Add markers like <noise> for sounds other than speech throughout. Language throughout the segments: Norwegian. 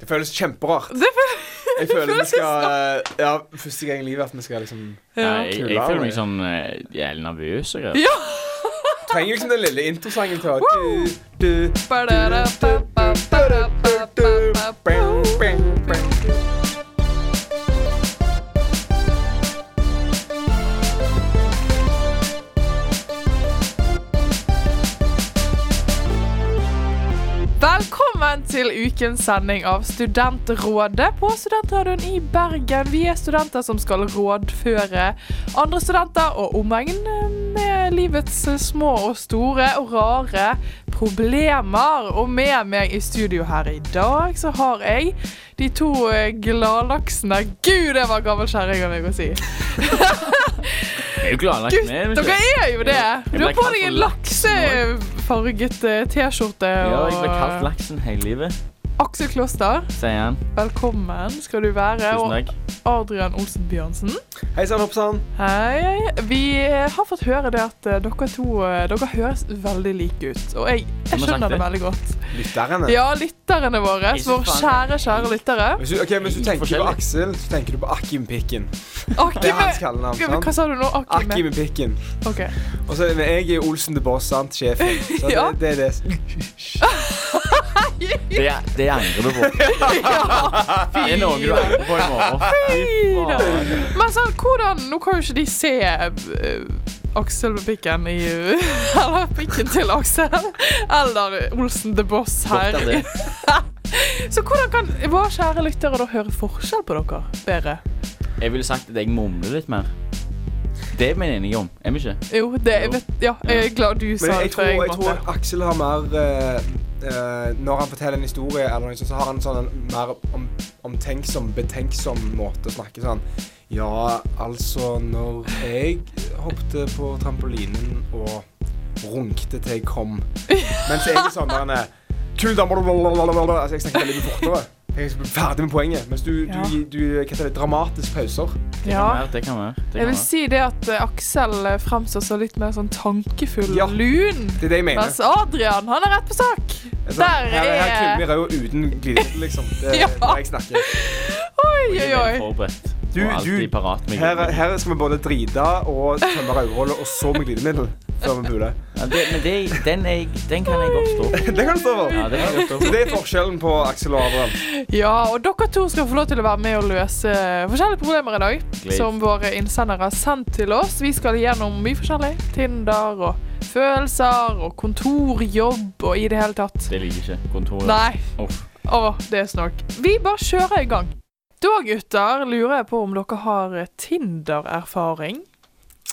Det føles kjemperart. Det føles, Jeg føler vi føles skal eh, Ja, første gang i livet at vi skal liksom ja. Nei, jeg, jeg føler meg sånn eh, jævlig nervøs og greier. ja. Trenger liksom den lille introsangen til å Woo! du, du, Velkommen til ukens sending av Studentrådet på Studentradioen i Bergen. Vi er studenter som skal rådføre andre studenter og omegn med livets små og store og rare problemer. Og med meg i studio her i dag så har jeg de to eh, gladlaksene Gud, det var gammel kjerring av meg å si. Jeg er jo gladlagt Gutt, med. vet du. dere er jo det! Ja. Jeg Du har ble på kalt deg en for laksen laksefarget eh, T-skjorte Ja, jeg ble kalt og eh, laksen hele livet, Aksel Kloster. sier han. Velkommen skal du være. Tusen Og takk. Adrian Olsen Bjørnsen. Hei sann, hopp sann. Hei. Vi har fått høre det at eh, dere to eh, dere høres veldig like ut. Og jeg, Hvem jeg skjønner har sagt det det? veldig godt. Lytterne. Ja, lytterne våre. Jeg synes Våre faen- kjære, kjære lyttere. Hvis du, ok, men hvis du Litt tenker på forskjellig. Aksel, så tenker du på Akimpikken. Det er hans Akime. kallenavn. sant? Hva sa du nå? Akime. Akimepikken. Ok. Og så men jeg er Olsen the Boss, sant? Sjefen. Så det, <laughs> Ja. det er det. Det, det <laughs> angrer du på. Det er noe du angrer på i morgen. Fy da. faen. Men sånn, hvordan Nå kan jo ikke de se eh, Aksel med pikken i Eller pikken til Aksel. Eller Olsen the Boss her. Bort av det. Så hvordan kan våre kjære lyttere da høre forskjell på dere bedre? Jeg ville sagt at jeg mumler litt mer. Det er vi enige om, er vi ikke? Jo, det jeg vet, ja, jeg er glad du Men sa jeg det. for tror, jeg måtte- tror Aksel har mer eh, eh, Når han forteller en historie, eller noe sånt, så har han sånn en mer om, omtenksom, betenksom måte å snakke sånn. Ja, altså, når jeg hoppet på trampolinen og runkte til jeg kom Mens jeg er sånn der eh, Kul dame blablabla. altså, Jeg snakker veldig mye fortere. Jeg er ferdig med poenget. Mens du, Ja. du, du, hva heter det, dramatisk pauser. Det kan ja. være, det kan være. Det Jeg vil kan være. si det at eh, Aksel eh, fremstår så litt mer sånn tankefull Ja. og lun. Det er det jeg mener. Mens Adrian, han er rett på sak. Altså, Altså, Der her, her er klimmer jeg jo uten glidemiddel, liksom. Det, <laughs> Ja. når jeg snakker. Oi, oi, Jeg er oi. forberedt. Du- og alltid du- parat med Her, glidemiddel. her skal vi både drite og tømme rødhålet, og så med glidemiddel før vi puler. Ja, det, men det, den, er, jeg- den kan jeg godt stå <laughs> for. Det kan du stå for. Ja, det kan jeg godt stå Så for. det er forskjellen på Aksel og Adrian. Ja, og dere to skal få lov til å være med og løse forskjellige problemer i dag. Glad. Som våre innsendere har sendt til oss. Vi skal gjennom mye forskjellig. Tinder og følelser og kontorjobb og i det hele tatt. Det liker ikke kontoret. Nei. Uff. Å, det er snork. Vi bare kjører i gang. Da, gutter, lurer jeg på om dere har Tinder-erfaring.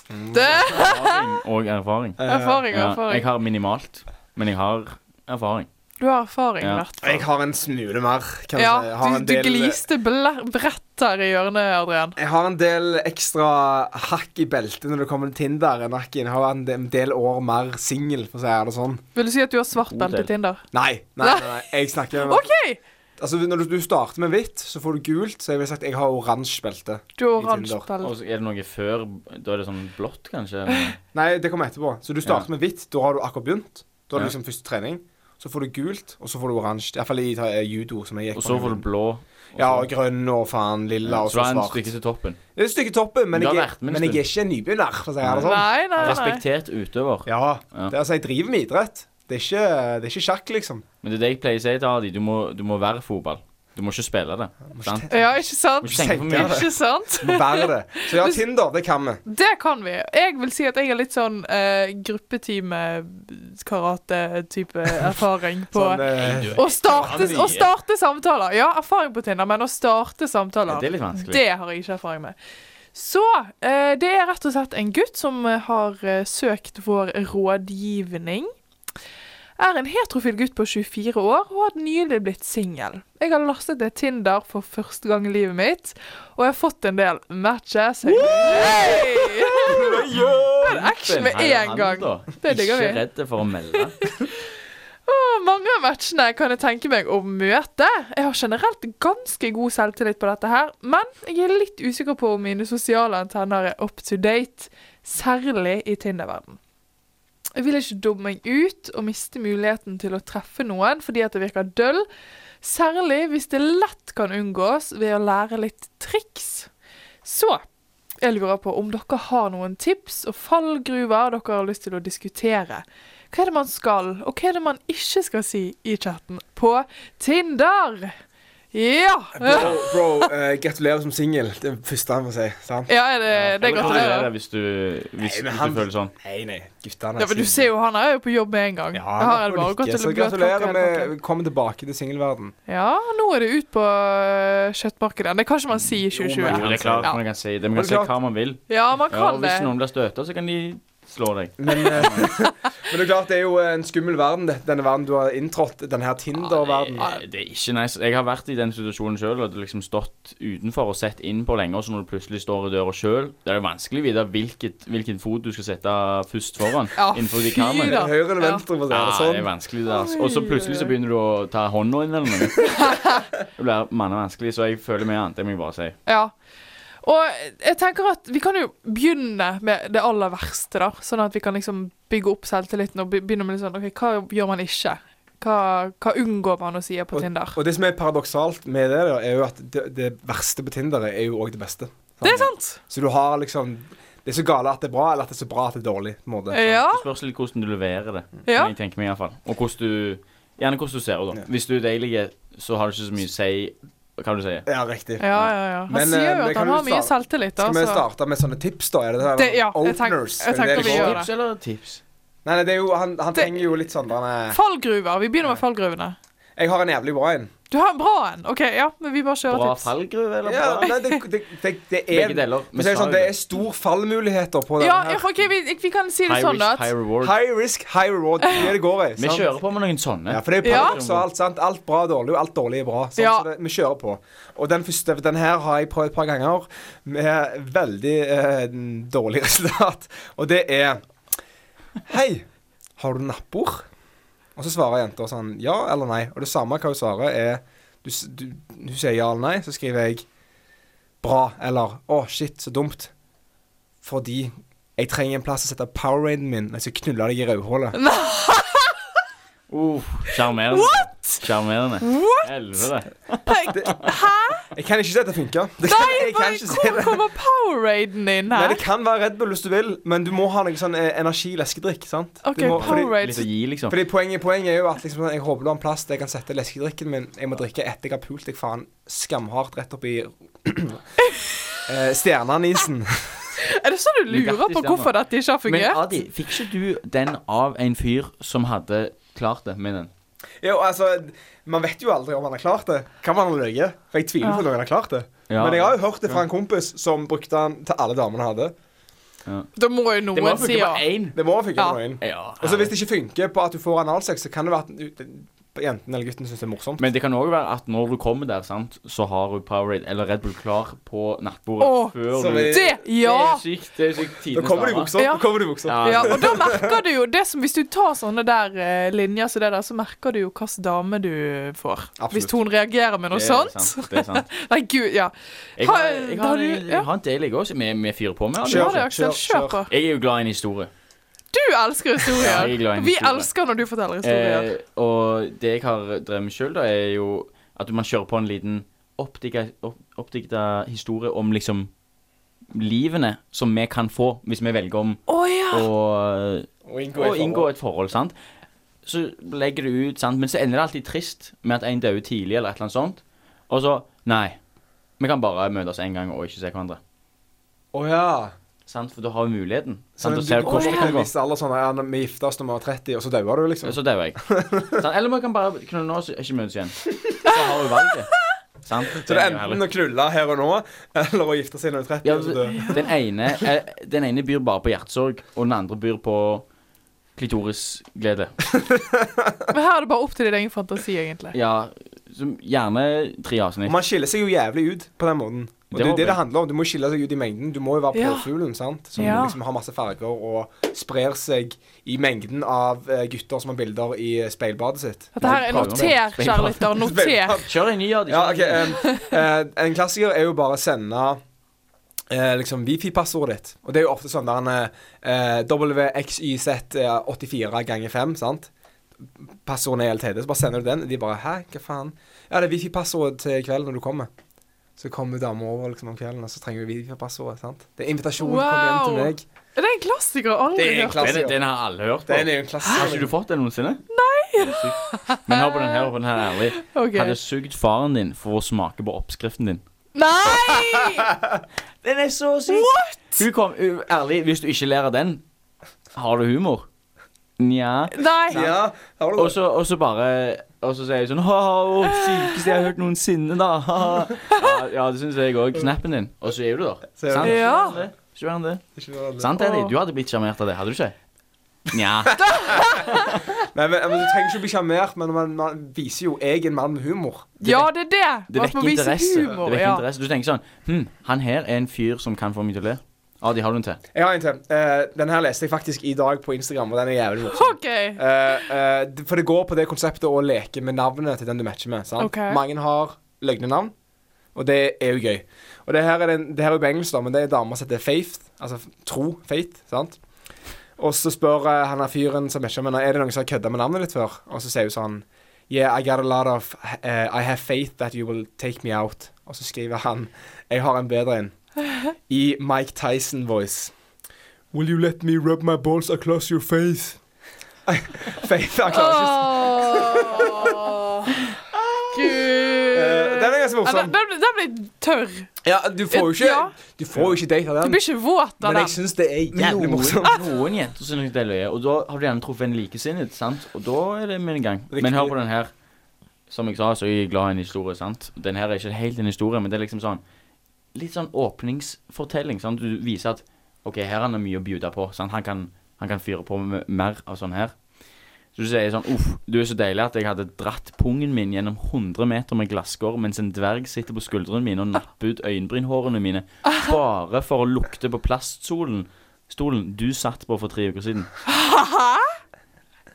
Mm. Det Erfaring og erfaring. Erfaring, Ja, jeg erfaring. har minimalt, men jeg har erfaring. Du har erfaring, i Ja. hvert Eh, Jeg fall. har en smule mer. Kan Ja, jeg si. Jeg har du, en du del- gliste bla- bredt her i hjørnet, Adrian. Jeg har en del ekstra hakk i beltet når det kommer til Tinder. enn hakk i- Jeg har en del- en del år mer singel, for å si det sånn. Vil du si at du har svart God belte del. Tinder? Nei, nei, nei, nei. jeg snakker <laughs> OK! Altså, Når du- du starter med hvitt, så får du gult. Så jeg ville sagt jeg har oransje belte. Du har oransje Tinder. belte. Og så er det noe før Da er det sånn blått, kanskje? Nei, det kommer etterpå. Så du starter Ja. med hvitt. Da har du akkurat begynt. Da har du Ja. liksom første trening. Så får du gult, og så får du oransje. Iallfall i ta- eh, judo, som jeg gikk Og så får du blå. og Ja, så- og grønn og faen lilla og så så er det en svart. stykke til toppen. Det er et stykke toppen, men, Du har jeg, vært er- med en men jeg er stund. ikke en nybegynner, for å si det sånn. Nei, nei, nei. Respektert utøver. Ja, Ja. det er, altså, jeg driver med idrett. Det er ikke, det er ikke sjakk, liksom. Men det er det jeg pleier å si til Adi. Du må, du må være fotball. Du må ikke spille det. Sant? Ja, ikke Du sant? må ikke tenke for tenke mye. det. Ikke sant? <laughs> Må være det. Så ja, Tinder, det kan vi. Det kan vi. Jeg vil si at jeg er litt sånn eh, <laughs> gruppetime-karate-type erfaring på Sånn, eh, å, starte, Faen, å mye. starte samtaler. Ja, erfaring på Tinder, men å starte Ja, samtaler, det er litt vanskelig. det har jeg ikke erfaring med. Så eh, det er rett og slett en gutt som eh, har eh, søkt vår rådgivning. Er en heterofil gutt på 24 år og har nylig blitt singel. Jeg har lastet ned Tinder for første gang i livet mitt, og jeg har fått en del matches. Hey! <laughs> er action med en gang. Det digger vi. Ikke redd for å <laughs> melde. Og mange av matchene kan jeg tenke meg å møte. Jeg har generelt ganske god selvtillit på dette her, men jeg er litt usikker på om mine sosiale antenner er up to date, særlig i Tinder-verden. Jeg vil ikke dumme meg ut og miste muligheten til å treffe noen fordi at det virker døll, Særlig hvis det lett kan unngås ved å lære litt triks. Så jeg lurer på om dere har noen tips og fallgruver dere har lyst til å diskutere. Hva er det man skal, og hva er det man ikke skal si i chatten på Tinder? Ja! Bro, bro eh, gratulerer som singel. Det er det første han må si. sant? Ja, er det, det Eller gratulerer gratulerer. Hvis du, hvis, Nei, men hvis han- du føler sånn. Nei, nei. Guttene Ja, men du ser jo han er jo på jobb med en gang. Ja, Da har han jeg er på bare gått lykke, til å så bli gratulerer klokka med klokka. Velkommen tilbake til singelverden. Ja, nå er det ut på øh, kjøttmarkedet. Det kan ikke man si i Jo, men- Jo, det 2020. er klart Ja. man kan si det. Man Og kan det si er klart- hva man vil. Ja, man Ja, og kan det. hvis noen blir støta, så kan de slå deg. Men, eh, <laughs> men det er klart, det er jo en skummel verden, det- denne verden du har inntrådt. Denne her Tinder-verden. Ja, det, det er ikke nice. Jeg har vært i den situasjonen sjøl og liksom stått utenfor og sett inn på lenge, og så når du plutselig står i døra sjøl Det er jo vanskelig å vite hvilket, hvilken fot du skal sette først foran. Ja, innenfor de fy kameraene. da. Høyre eller Ja. venstre, for å si Ja, det det er sånn. vanskelig det, altså. Oi, Og så plutselig så oi, oi. begynner du å ta hånda inn <laughs> eller noe. Det blir manna vanskelig, så jeg føler meg annet, det må jeg bare si. Ja. Og jeg tenker at vi kan jo begynne med det aller verste, da. Sånn at vi kan liksom bygge opp selvtilliten og be- begynne med litt sånn OK, hva gjør man ikke? Hva, hva unngår man å si på Tinder? Og det som er paradoksalt med det, da, er jo at det, det verste på Tinder er jo òg det beste. Det er sant! Så du har liksom Det er så gale at det er bra, eller at det er så bra at det er dårlig. på en måte. Ja. Det spørs litt hvordan du leverer det. ja. kan Jeg tenker meg i hvert fall. Og hvordan du, gjerne hvordan du ser ut, Ja. da. Hvis du er deilig, så har du ikke så mye å si. Hva vil du si? Ja, riktig. Ja, ja, ja. Han Men, eh, sier jo men at kan han du har mye starte- selvtillit. Skal vi Altså. starte med sånne tips, da? Er det det her? Det- ja, jeg tenk- Openers? jeg er det tenker det vi gjør går? det. Tips eller tips? Nei, nei, det er jo, han, han Det- trenger jo litt sånn der, nei. Fallgruver. Vi begynner med fallgruvene. Jeg har en jævlig bra en. Du har en bra en. OK, ja, men vi bare kjører Bra tips. fallgruve, eller Ja, bra nei, det, det, det, det er Begge deler. Men så er det, sånn, det er stor fallmuligheter på denne Ja, ja, her. OK, vi, vi kan si det High sånn, da. risk, At, high reward. High risk, high reward. Det er det det går i. Vi sant? kjører på med noen sånne. Ja, for det er jo Ja. paradoksalt. sant? Alt bra er dårlig, og alt dårlig er bra. sant? Ja. Så det, vi kjører på. Og den første, den her har jeg prøvd et par ganger med veldig eh, dårlig <laughs> resultat. Og det er Hei, har du nappord? Og så svarer jenta sånn ja eller nei. Og det samme hva hun svarer, er du, s- du, Hun sier ja eller nei, så skriver jeg bra eller å, shit, så dumt. Fordi jeg trenger en plass å sette powerraiden min mens jeg knuller deg i rødhålet. Uh, Sjarmerende. Sjarmerende. Helvete. Hæ? Jeg kan ikke si at det funker. Det kan, Nei, <laughs> jeg kan men ikke si hvor det. kommer Poweraden inn Nei, her? det kan være Red Bull hvis du vil, men du må ha noe sånn eh, energileskedrikk, sant? Du OK, må, fordi, Litt å Powerade. gi, liksom. fordi poenget, poenget er jo at liksom, sånn, jeg håper du har en plass der jeg kan sette leskedrikken min. Jeg må drikke etter jeg har pult deg faen skamhardt rett oppi <clears throat> eh, stjerneanisen. <laughs> Er det sånn du lurer på Bugatti-stjerner. hvorfor dette ikke har Men fungert? Adi, fikk ikke du den av en fyr som hadde klart det med den? Jo, altså, man vet jo aldri om han har klart det. Kan man ha løyet? For jeg tviler Ja. på at noen har klart det. Ja. Men jeg har jo hørt det fra en kompis som brukte han til alle damene han hadde. Da må jo Det må noen si funke ja. på én. Det må funke Ja. på noen. Ja, Og så hvis det ikke funker på at du får analsex, så kan det være at du- jenten eller gutten syns det er morsomt. Men det kan òg være at når du kommer der, sant, så har du Powerade eller Red Bull klar på nattbordet Åh, før så du vi- Det, ja! Det er sykt. Det er sykt Da tidenes kommer det i drama. buksa. Ja. Da kommer det i buksa. Ja, Ja, og da merker du jo det som, Hvis du tar sånne der eh, linjer som det der, så merker du jo hvilken dame du får. Absolutt. Hvis hun reagerer med noe det er sånt. sant, Det er sant. Nei, gud, ja. Jeg Har- har, jeg har har, du- jeg ja. har en del jeg òg, som vi- vi fyrer på med. Adi. Kjør, Du har det, kjør, Aksel. Kjør kjør, på. Jeg er jo glad i en historie. Du elsker Ja, jeg er glad i historier. en Vi historie. elsker når du forteller historier. Eh, og det jeg har drevet med sjøl, da, er jo at man kjører på en liten oppdikta opp, oppdikta historie om liksom livene som vi kan få hvis vi velger om Å ja. å Og inngå Og inngå et forhold, sant. Så legger du ut, sant. Men så ender det alltid trist med at en dør tidlig, eller et eller annet sånt. Og så Nei. Vi kan bare møtes én gang og ikke se hverandre. Å ja. Sant? For da har vi muligheten. Sånn, Sant? Og du ser kommer hvordan det til kan en gå. viss alder sånn ja, når Vi gifter oss når vi var 30, og så dauer du, liksom. Så dauer <laughs> jeg. Sant? Eller vi kan bare knulle nå og ikke møtes igjen. Så har vi valget. Sant? Så det er er jo enten herlig. å knulle her og nå, eller å gifte seg når du er 30 ja, og så dø. den, ene, eh, den ene byr bare på hjertesorg, og den andre byr på klitorisglede. Men her er det bare opp til din egen fantasi, egentlig. Ja, som gjerne tre avsnitt. Og Man skiller seg jo jævlig ut på den måten. Og det er Det jo må det vi. det handler om. Du må skille seg ut i mengden. Du må jo være Ja. påfuglen, sant. Som Ja. liksom har masse farger og sprer seg i mengden av eh, gutter som har bilder i eh, speilbadet sitt. Dette her er Beklager. noter, <laughs> kjære lytter. Noter. Kjør en ny, ja. de Ja, ok kjører en ny. em, eh, En klassiker er jo bare å sende eh, liksom Wifi-passordet ditt. Og det er jo ofte sånn der en eh, WXYZ84 ganger 5, sant? Passordet er LTD, så bare sender du den. og De bare Hæ, hva faen? Ja, det er wifi-passord til kvelden når du kommer. Så kommer dama over liksom om kvelden, og så trenger du wifi-passordet. sant? Det er invitasjon. Kom hjem til Wow. meg. Er det en klassiker? Aldri Det er en hørt. klassiker. Den, den har alle hørt på. Den er jo en Har ikke klassiker. du fått den noensinne? Nei. Men hør på den her, hør på den her <laughs> ærlig. Ok. Hadde sugd faren din for å smake på oppskriften din. Nei! Den er så syk. What? Hun kom, u- ærlig, hvis du ikke ler av den, har du humor? Nja. Nei. <laughs> Ja, har du Og det? så og så bare Og så sier hun sånn Ha-ha, sykeste jeg har hørt noensinne, da. haha». Ja, ja, det syns jeg òg. Snappen din. Og så er du der. Så er Sant? det- Ja. Ikke verre enn det. Ikke verre enn det. Ikke noe annet. Sant, Eddie? Åh. Du hadde blitt sjarmert av det, hadde du ikke? Nja. Nei, men, men Du trenger ikke å bli sjarmert, men man, man viser jo jeg er en mann med humor. Ja, det er det. Det Man får vekker vise interesse. humor, det vekker ja. interesse. Du tenker sånn Hm, han her er en fyr som kan få meg til å le. Ja, de har du en til. Jeg har en til. Eh, den her leste jeg faktisk i dag på Instagram, og den er jævlig morsom. OK. Eh, eh, d- for det går på det konseptet å leke med navnet til den du matcher med. sant? Ok. Mange har løgnenavn, og det er jo gøy. Og det her er, den, det her er jo på engelsk, da, men det er en dame som heter Faith. Altså f- tro. Faith. sant? Og så spør eh, han her fyren som matcher med henne, er det noen som har kødda med navnet ditt før. Og så sier hun sånn Yeah, I got a lot of eh, I have faith that you will take me out. Og så skriver han Jeg har en bedre <laughs> en. I Mike Tyson-voice. Will you let me rub my balls across your face? <laughs> Faith, han klarer ikke å Åh. <laughs> Gud. Eh, Den er ganske Ja, den, morsom. den, den blir tørr. Ja, du får jo ikke, Ja. du får jo ikke date av Du den. blir ikke våt av Men jeg den. syns det er jævlig morsomt. Noen, <laughs> noen jenter synes nok det er løye, og da har du gjerne truffet en likesinnet, sant? Og da er det min gang. Riktig. Men hør på den her. Som jeg sa, så er jeg glad i en historie, sant? Den her er ikke helt en historie, men det er liksom sånn Litt sånn åpningsfortelling, sant? Du viser at OK, her er det mye å bjuda på, sant? Han kan, han kan fyre på med mer av sånn her. Så du sier sånn Uff, du er så deilig at jeg hadde dratt pungen min gjennom 100 meter med glasskår mens en dverg sitter på skuldrene mine og napper ut øyenbrynhårene mine bare for å lukte på plaststolen stolen du satt på for tre uker siden.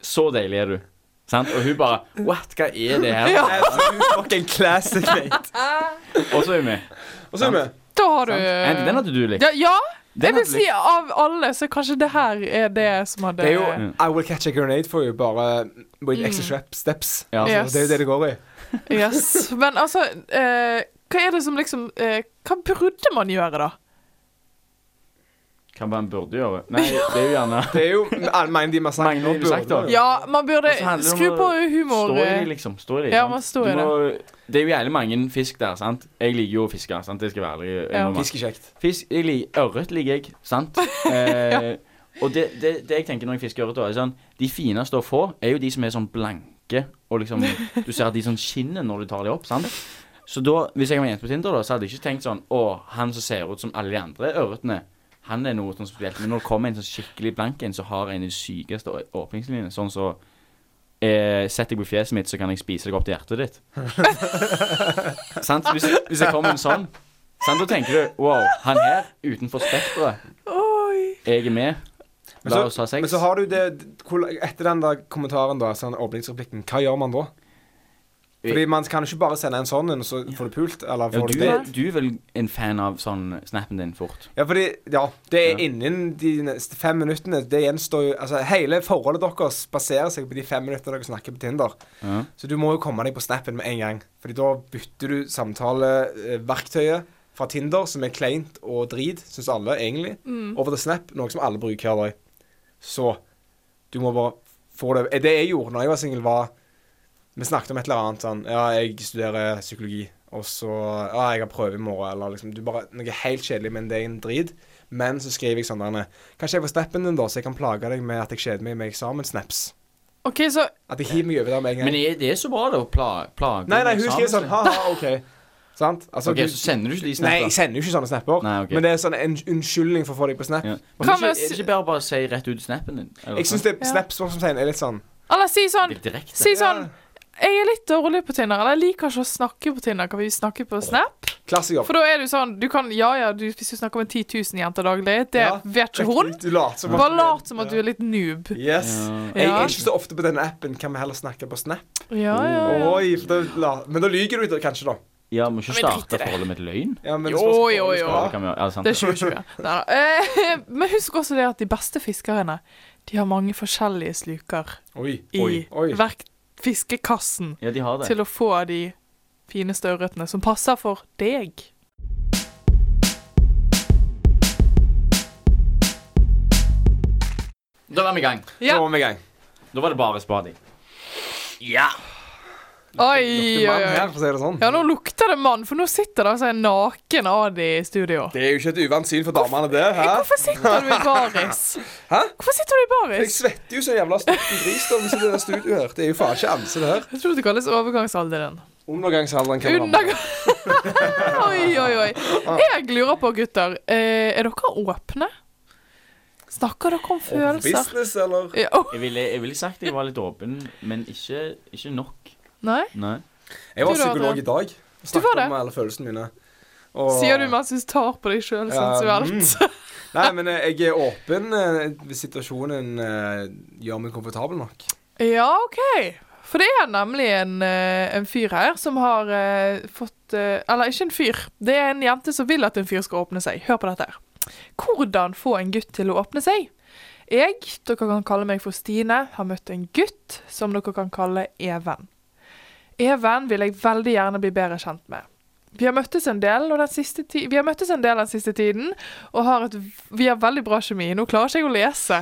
Så deilig er du. Sant? Og hun bare What, hva er det her? <laughs> <laughs> Ja. Fucking <laughs> classic mate. Og så er hun med. Og så er vi Da har du Sant? Andy, den hadde du likt. Eh, Ja, ja. jeg Den vil hadde si av alle, så kanskje det her er Mm. det som hadde Det er jo I Will Catch a Grenade for you, bare with extra strep- steps. Ja. Ja. Altså, Det er jo det det går i. Yes. Men altså, eh, hva er det som liksom eh, Hva burde man gjøre, da? Hva man burde gjøre. Nei, det er jo gjerne Det <laughs> er jo Mange de har sagt Mange de har sagt, da. Ja, man burde Og så handler det om skru å på humor. Stå i det, eh, liksom. Stå i det. Ja, sant? man står i Du må, det er jo jævlig mange fisk der, sant. Jeg liker jo å fiske, sant. Det skal være ærlig. Ja. innrømme. Fiskekjekt. Fisk, jeg liker, ørret liker jeg, sant? Eh, og det, det, det jeg tenker når jeg fisker ørret, da, er sånn, de fineste å få er jo de som er sånn blanke, og liksom, du ser at de sånn skinner når du tar dem opp, sant? Så da, hvis jeg var en jente på Tinder da, så hadde jeg ikke tenkt sånn, å, han som ser ut som alle de andre ørretene, han er noe sånn spesielt, men når det kommer en sånn skikkelig blank en, så har en de sykeste å- åpningslinjene, sånn så, eh, sett deg på fjeset mitt, så kan jeg spise deg opp til hjertet ditt. sant? Hvis, hvis jeg kommer en sånn, Sant, da tenker du Wow, han her utenfor spekteret. Oi. Jeg er med. Men La så- oss ha sex. Men så har du det hvor- Etter den der kommentaren, da, sånn åpningsreplikken, hva gjør man da? Fordi man kan ikke bare sende en sånn en, og så får du pult, eller ja, får du, du er, date. du er vel en fan av sånn snappen din fort? Ja, fordi, ja, det er Ja. innen de neste fem minuttene. Det gjenstår jo Altså, hele forholdet deres baserer seg på de fem minuttene dere snakker på Tinder. Ja. Så du må jo komme deg på snappen med en gang. Fordi da bytter du samtaleverktøyet fra Tinder, som er kleint og drit, syns alle egentlig, over til Snap, noe som alle bruker hver dag. Så du må bare få det Eh, Det jeg gjorde når jeg var singel, var Vi snakket om et eller annet sånn Ja, jeg studerer psykologi, og så Ja, jeg har prøve i morgen, eller liksom du bare, Noe helt kjedelig, men det er en drit. Men så skriver jeg sånn der Kanskje jeg får snappen din, da, så jeg kan plage deg med at jeg kjeder meg med eksamen-snaps. OK, så At jeg hiver meg over der med en gang. Men er det så bra, da? å Pla, plage Nei, nei, med hun skriver sånn eksamen? Ha-ha, OK. <laughs> Sant? Altså, Ok, du- Så sender du ikke de nei, jeg snappene? sender jo ikke sånne snapper. Nei, ok. Men det er sånn en unnskyldning for å få deg på snap. Ja. Hva Men Er med det å si- ikke- er det ikke bare bare å si rett ut snappen din? Eller Jeg syns sånn? det Ja. snaps som sier, er litt sånn Eller si sånn Litt direkte. Si sånn Ja. Jeg er litt dårlig på Tinder, eller jeg liker ikke å snakke på Tinder. Kan vi snakke på Snap? klassiker. For da er du sånn du kan, Ja ja, du, hvis du snakker med 10 000 jenter daglig, det Ja, vet ikke hun. Du later som at Bare du- lat som at du Ja. er litt noob. Yes. Ja. Jeg Ja. er ikke så ofte på denne appen. Kan vi heller snakke på Snap? Ja, ja, ja. Oi, for da, la, men da lyver du da, kanskje, da. Ja, må ikke Men drit i starte det. forholdet med et løgn. Ja, men det Jo, spørs hvor jo, du skal jo. ha. Det kan vi gjøre. Ja, sant. Det er 2020. Nei da. Eh, Men husk også det at de beste fiskerne De har mange forskjellige sluker Oi. i Oi. Oi. verk- fiskekassen Ja, de har det. til å få de fineste ørretene som passer for deg. Da var vi i gang. Nå Ja. må vi i gang. Da var det bare spading. Ja. Lukter Oi, oi, mann her, oi. for å si det sånn. Ja, nå lukter det mann, for nå sitter det altså en naken Adi i studio. Det er jo ikke et uvant syn for damene, det. Hæ? Hvorfor sitter du i baris? Hæ? Hvorfor sitter du i Jeg baris? svetter jo så jævla støtten gris da, hvis det er det studioet her. Det er jo faen ikke anse, det her. Jeg tror det kalles overgangsalderen. Undergangsalderen kan man Ah. ha. Undergang... <laughs> oi, oi, oi. Jeg lurer på, gutter, eh, er dere åpne? Snakker dere om følelser? Business, eller? Ja, å, Jeg ville, jeg ville sagt jeg var litt åpen, men ikke, ikke nok. nei? Nei. Jeg var Du da, psykolog Adrian? i dag. Du var Snakket det? om alle følelsene mine. Og- Sier du mens du tar på deg sjøl Ja, mm. sensuelt? Nei, men eh, jeg er åpen eh, hvis situasjonen eh, gjør meg komfortabel nok. Ja, OK. For det er nemlig en, eh, en fyr her som har eh, fått eh, Eller ikke en fyr. Det er en jente som vil at en fyr skal åpne seg. Hør på dette her. Hvordan få en gutt til å åpne seg? Jeg, dere kan kalle meg for Stine, har møtt en gutt som dere kan kalle Even. Even vil jeg veldig gjerne bli bedre kjent med. Vi har møttes en del, og den siste ti vi har møttes en del den siste tiden, og har et, v- vi har veldig bra kjemi. Nå klarer ikke jeg å lese.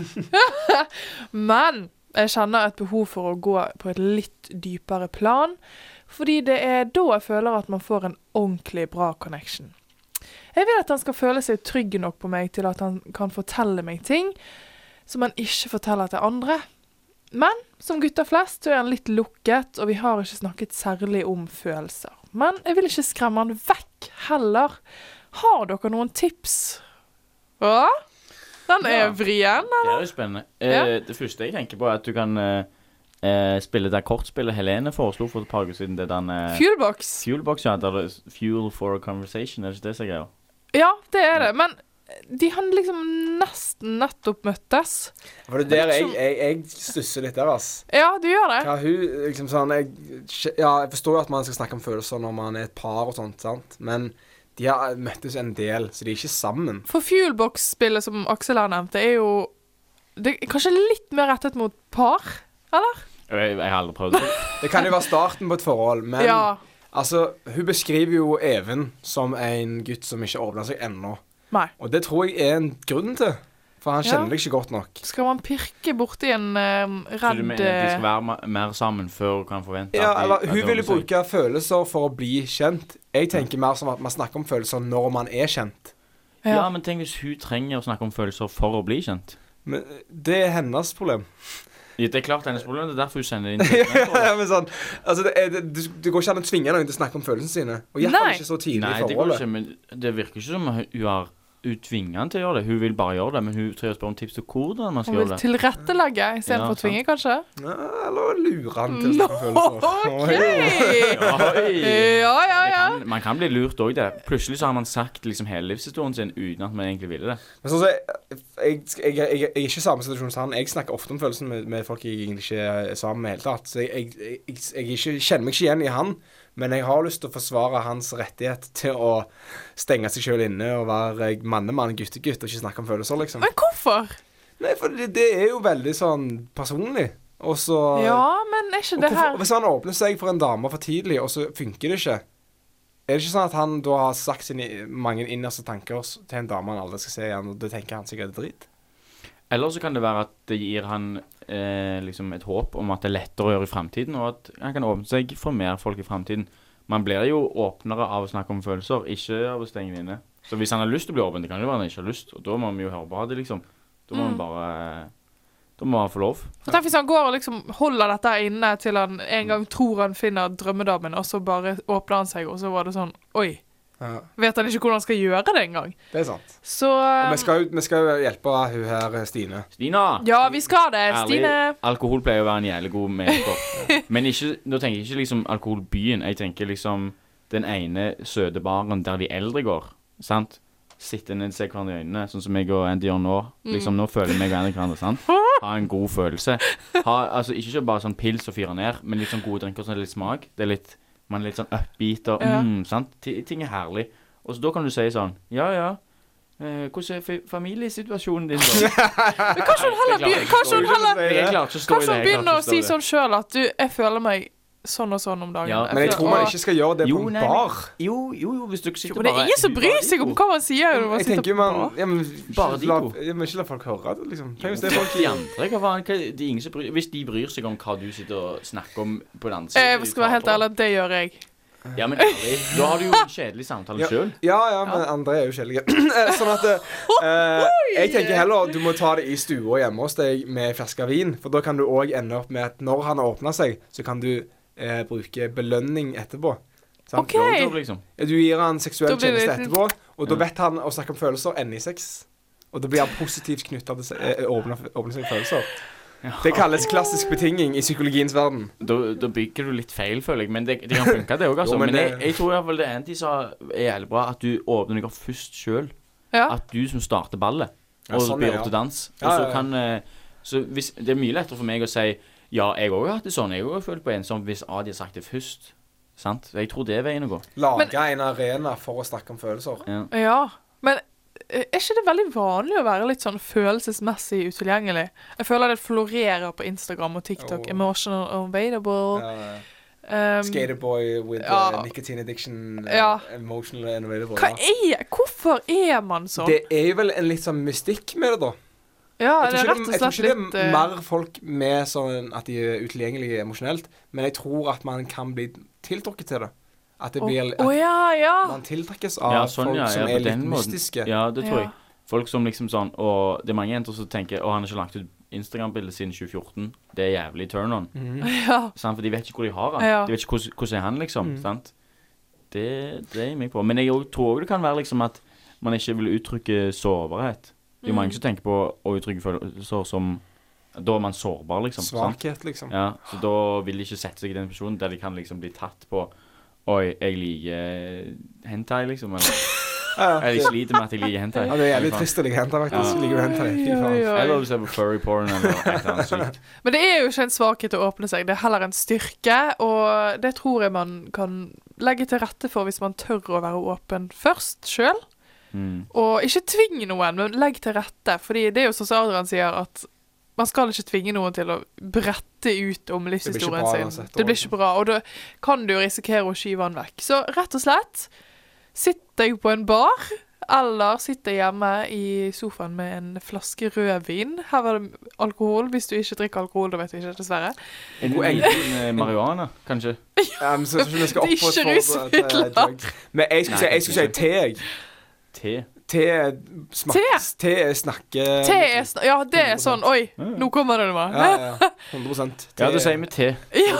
Men jeg kjenner et behov for å gå på et litt dypere plan, fordi det er da jeg føler at man får en ordentlig bra connection. Jeg vil at han skal føle seg trygg nok på meg til at han kan fortelle meg ting som han ikke forteller til andre. Men som gutter flest så er han litt lukket, og vi har ikke snakket særlig om følelser. Men jeg vil ikke skremme han vekk heller. Har dere noen tips? Hva? Den Ja. er vrien. Det er jo spennende. Eh, Ja. Det første jeg tenker på, er at du kan eh, eh, spille det kortspillet Helene foreslo for et par uker siden. Det er den eh, Fuelbox. Fuelbox, ja. Der det er Fuel for a conversation, er det ikke det som er greia? Ja, det er det. Men de har liksom nesten nettopp møttes. For det er der jeg, jeg, jeg stusser litt der, ass. Ja, du gjør det. Ja, hun, liksom sånn, jeg, ja, jeg forstår jo at man skal snakke om følelser når man er et par og sånt, sant? men de har eh, møttes en del, så de er ikke sammen. For Fuelbox-spillet som Aksel har nevnt, det er jo det er kanskje litt mer rettet mot par? Jeg, jeg har aldri prøvd det. Det kan jo være starten på et forhold, men ja. altså, hun beskriver jo Even som en gutt som ikke åpner seg ennå. Nei. Og det tror jeg er en grunn til, for han Ja. kjenner deg ikke godt nok. Skal man pirke borti en eh, Så du redd mener at de skal være ma- mer sammen før du kan forvente Ja, at de- eller at de Hun vil jo åpner seg? bruke følelser for å bli kjent. Jeg tenker mer som at man snakker om følelser når man er kjent. eh, Ja, ja. men tenk hvis hun trenger å snakke om følelser for å bli kjent. Men eh, det er hennes problem. Ja, Det er klart hennes problem, det er derfor hun sender inn <laughs> ja, men sånn, altså det, er, det, du- det går ikke an å tvinge noen til å snakke om følelsene sine. Og i hvert fall Nei. ikke så tidlig Nei, i det går forholdet. ikke, men det virker ikke som hun hun har Hun tvinger han til å gjøre det. Hun vil bare gjøre det, men hun tør å spørre om tips til hvordan man Man skal vil gjøre det. tilrettelegge Ja, istedenfor å sant. tvinge, kanskje? Ja, eller lure han til å Nå, snakke om følelser. Oi. <laughs> OK! <laughs> Oi! Ja, ja, Det ja. kan, man kan bli lurt òg der. Plutselig så har man sagt liksom hele livshistorien sin uten at man egentlig ville det. Men sånn som jeg, jeg, jeg, jeg, jeg er ikke i samme situasjon som han. Jeg snakker ofte om følelsene med, med folk jeg egentlig ikke er sammen med i det hele tatt. Så jeg, jeg, jeg, jeg, er ikke, kjenner meg ikke igjen i han, men jeg har lyst til å forsvare hans rettighet til å stenge seg sjøl inne og være mannemann, guttegutt, og ikke snakke om følelser, liksom. Men hvorfor? Nei, for det, det er jo veldig sånn personlig. Og så Ja, men er ikke Og det hvorfor, her hvis han åpner seg for en dame for tidlig, og så funker det ikke Er det ikke sånn at han da har sagt sine mange innerste tanker s- til en dame han aldri skal se igjen, og da tenker han sikkert det er dritt? Eller så kan det være at det gir han eh, liksom et håp om at det er lettere å gjøre i framtiden, og at han kan åpne seg for mer folk i framtiden. Man blir jo åpnere av å snakke om følelser, ikke av å stenge det inne. Så hvis han har lyst til å bli åpen, det kan jo være han ikke har lyst, og da må vi jo høre på det, liksom. Da må Mm. vi bare Da må han få lov. For Tenk hvis han går og liksom holder dette her inne til han en gang tror han finner drømmedamen, og så bare åpner han seg, og så var det sånn Oi. Ja, Vet han ikke hvordan han skal gjøre det engang? det er sant. Så eh, Og vi skal, jo- vi skal jo hjelpe hun her, Stine. Stina! Ja, vi skal det. Stine. alkohol pleier å være en jævlig god <laughs> medkopp. Men ikke, nå tenker jeg ikke liksom alkoholbyen. Jeg tenker liksom den ene søte baren der de eldre går. Sant? Sitter ned og ser hverandre i øynene, sånn som jeg og Andy gjør nå. Mm. Liksom Nå føler vi hverandre hverandre. <laughs> sant? Ha en god følelse. Ha, altså, ikke så bare sånn pils og fyre ned, men litt sånn gode drinker som er litt smak. Det er litt, man er litt sånn upbeat og Ja. mm, sant? Ti- Ting er herlig. Og så da kan du si sånn Ja, ja. Eh, hvordan er fa- familiesituasjonen din, da? Men <laughs> kanskje hun Nei, heller det klarer jeg begyn- kanskje hun heller Jeg klarer ikke å stå i Kanskje det. hun jeg klarer ikke begynner å å stå i si det. sånn sjøl at du, jeg føler meg sånn og sånn om dagen. Ja, Men jeg tror man Og- ikke skal gjøre det på Jo, en nei, men- bar. Jo, jo, jo, hvis du ikke Jo, sitter men det er bare- ingen som bryr seg om hva man sier. når Man Jeg sitter tenker man på- ja, men, Bare ikke de la, to. ja, men ikke la folk høre det, liksom. Tenk hvis det er folk De andre, hva faen? Hva, det er ingen som bryr, hvis de bryr seg om hva du sitter og snakker om på den andre Jeg Eh, skal være helt ærlig, det gjør jeg. Ja, men ærlig, da har du jo en kjedelig samtale selv Ja, ja, men andre er jo skjellige. <clears throat> Eh, sånn at eh, Jeg tenker heller du må ta det i stua hjemme hos deg med flaske vin. For da kan du òg ende opp med at når han har åpna seg, så kan du eh, bruke belønning etterpå. Sant? Ok. Hey. Blowjob, liksom. Du gir han seksuell Da blir det tjeneste litt- etterpå, og da Ja. vet han å snakke om følelser enn i sex. Og da blir han positivt knytta til se- eh, åpne, åpne seg følelser. Det kalles klassisk betinging i psykologiens verden. Da, da bygger du litt feil, føler jeg. Men det, det kan funke, det òg. Altså. Jo, men men jeg, det- jeg tror i hvert fall det er en tid som er jævlig bra, at du åpner deg opp først sjøl. Ja. At du som starter ballet, Ja, og sånn, byr ja. opp til dans. Ja, og ja, så ja. kan eh, så hvis, Det er mye lettere for meg å si ja, jeg òg har hatt det sånn. Jeg òg har følt på ensom hvis Adi har sagt det først. Sant? Jeg tror det er veien å gå. Lage Men- en arena for å snakke om følelser. Ja. Ja, men eh, er ikke det veldig vanlig å være litt sånn følelsesmessig utilgjengelig? Jeg føler det florerer på Instagram og TikTok. Jo. Emotional available. Ja. Um, Skaterboy Eh, with ja. uh, nicotine addiction. Uh, Ja. Emotional and available. hva ja. er Hvorfor er man sånn? Det er jo vel en litt sånn mystikk med det, da. ja, Jeg det er tror rett ikke, og jeg tror slett ikke litt det er eh, mer folk med sånn at de er utilgjengelige emosjonelt, men jeg tror at man kan bli tiltrukket til det. At det Å blir å at ja, ja. man tiltrekkes av Ja, sånn, folk ja, ja, som på er litt den måten. mystiske. Ja, det tror Ja. jeg. Folk som liksom sånn Og det er mange jenter som tenker Å, han har ikke lagt ut Instagram-bilde siden 2014. Det er jævlig turn on. Mhm. ja. Sant? For de vet ikke hvor de har han. Ja. De vet ikke hvordan, hvordan er han liksom. Mm. Sant? Det dreier meg på. Men jeg og- tror òg det kan være liksom at man ikke vil uttrykke sårbarhet. Det er jo mange som tenker på å uttrykke følelser som Da er man sårbar, liksom. Sant? Svakhet, liksom. Ja, så da vil de ikke sette seg i den posisjonen der de kan liksom bli tatt på Oi, jeg liker hentai, liksom. Eller Ja, eller jeg det, sliter med at jeg liker hentai. ja, det er jævlig Fy faen. trist å ligge henta, faktisk. Ja. Ligger du henta, fy Oi, faen. oi, oi. Eller du ser på furry porn eller et eller annet sykt. Men det er jo ikke en svakhet å åpne seg, det er heller en styrke. Og det tror jeg man kan legge til rette for hvis man tør å være åpen først sjøl. Mm. Og ikke tving noen, men legg til rette. Fordi det er jo sånn som Adrian sier, at man skal ikke tvinge noen til å brette ut om Det blir livshistorien ikke bra sin. uansett, det blir ikke bra, og da kan du jo risikere å skyve han vekk. Så rett og slett, sitt deg på en bar, eller sitt deg hjemme i sofaen med en flaske rødvin. Her var det alkohol. Hvis du ikke drikker alkohol, da vet du ikke, dessverre. En god liten eh, marihuana, kanskje? <laughs> Ja, men så, så vi skal Det er ikke oppfordre til- til rusmidler. drugs. Men jeg skulle Nei, si- jeg skulle si ikke. te, jeg. Te? Te smaks. Te er snakke... Te er sn Ja, det er sånn Oi, Ja, ja. nå kommer det noe. Ja, <laughs> ja, ja. 100 te, Ja, det sier vi te.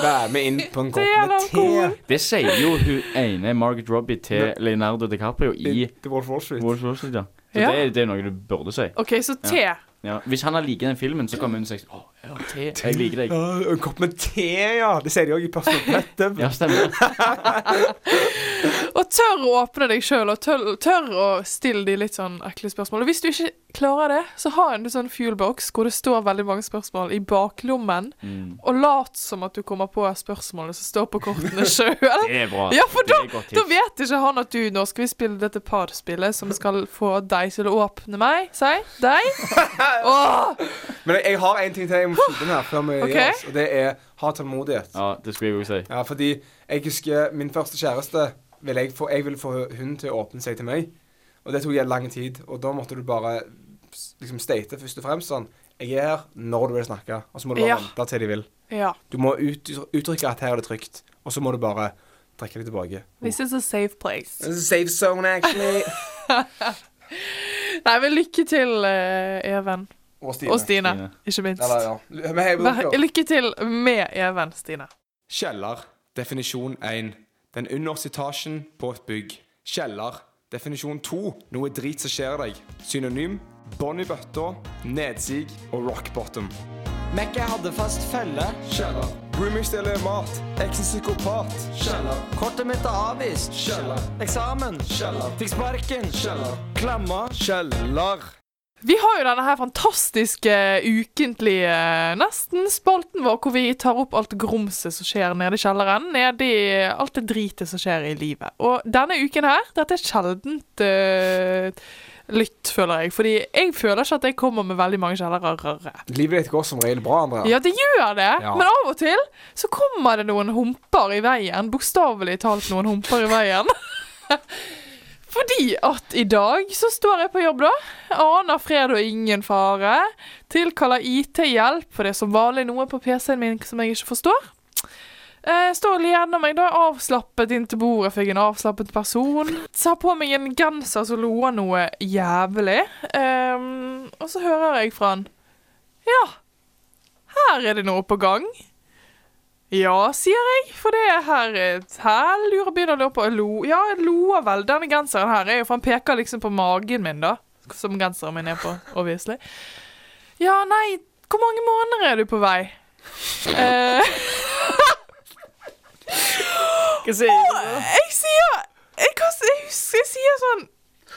Vær med inn på en kopp Te er med te. alkohol. Det sier jo hun ene Margaret Robbie til Men- Leonardo DiCaprio i The Wolf of Wall Street. Wolf of Wall Street, ja. Så Ja. det, er, det er noe du burde si. OK, så te. Ja. Hvis han har likt den filmen, så kommer hun og sier Å, ja, te. Jeg liker deg. Ja, en kopp med te, ja. Det sier de òg i Personal Pet. Ja, <laughs> stemmer. Og tør å åpne deg sjøl, og tør, tør å stille de litt sånn ekle spørsmål. Og hvis du ikke klarer det, så ha en sånn fuelbox hvor det står veldig mange spørsmål i baklommen, Mm. og lat som at du kommer på spørsmålet som står på <laughs> kortene sjøl. Det er bra. Ja, for Det er et godt Da tips. vet ikke han at du nå skal vi spille dette parspillet som skal få deg til å åpne meg. Si deg. <laughs> Åh, Men jeg, jeg har en ting til jeg må skyte inn her før vi Ok. gir oss, og det er ha tålmodighet. Ja, det skulle jeg òg si. Ja, fordi jeg husker min første kjæreste vil jeg, få, jeg ville få hun til å åpne seg til meg. Og det tok jeg lang tid. Og da måtte du bare s- liksom state først og fremst sånn Jeg er her når du vil snakke. Og så må du bare Ja. vente til de vil. ja. Du må ut, uttrykke at her er det trygt. Og så må du bare trekke deg tilbake. This is a safe place. This is a safe zone, <laughs> actually. Nei, men lykke til, eh, Even. Og Stine. Og Stine, Stine. ikke Eller, minst. ja. Men hei, Vær- dere. Lykke til med Even, Stine. Kjeller. Definisjon 1. Den underste etasjen på et bygg. Kjeller. Definisjon 2. Noe drit som skjer deg. Synonym bånd i bøtta, nedsig og rock bottom. Mekka hadde fast følge. Kjeller. Roomie stjeler mat. Eksen psykopat. Kjeller. Kortet mitt er avvist. Kjeller. Eksamen. Kjeller. Fikk sparken. Kjeller. Klemma. Kjeller. Vi har jo denne her fantastiske ukentlige nesten-spalten vår, hvor vi tar opp alt grumset som skjer nede i kjelleren. Nede i alt det dritet som skjer i livet. Og denne uken her, dette er sjeldent eh, lytt, føler jeg. Fordi jeg føler ikke at jeg kommer med veldig mange kjellerarrere. Livet ditt går som regel bra, Andrea. Ja, det gjør det, Ja. men av og til så kommer det noen humper i veien. Bokstavelig talt noen humper i veien. <laughs> Fordi at i dag så står jeg på jobb, da. Aner fred og ingen fare. Tilkaller IT-hjelp, for det er som vanlig noe på PC-en min som jeg ikke forstår. Eh, står gjennom meg da avslappet inn til bordet, fikk en avslappet person. Tar på meg en genser som loer noe jævlig. Ehm, og så hører jeg fra han Ja, her er det noe på gang. Ja, sier jeg, for det er her Her lurer begynner å lure på jeg lo, Ja, jeg loer vel. Denne genseren her er jo For han peker liksom på magen min, da. Som genseren min er på, obviously. Ja, nei, hvor mange måneder er du på vei? Eh, Hva sier du? jeg sier jeg, kan- jeg, husker- jeg sier sånn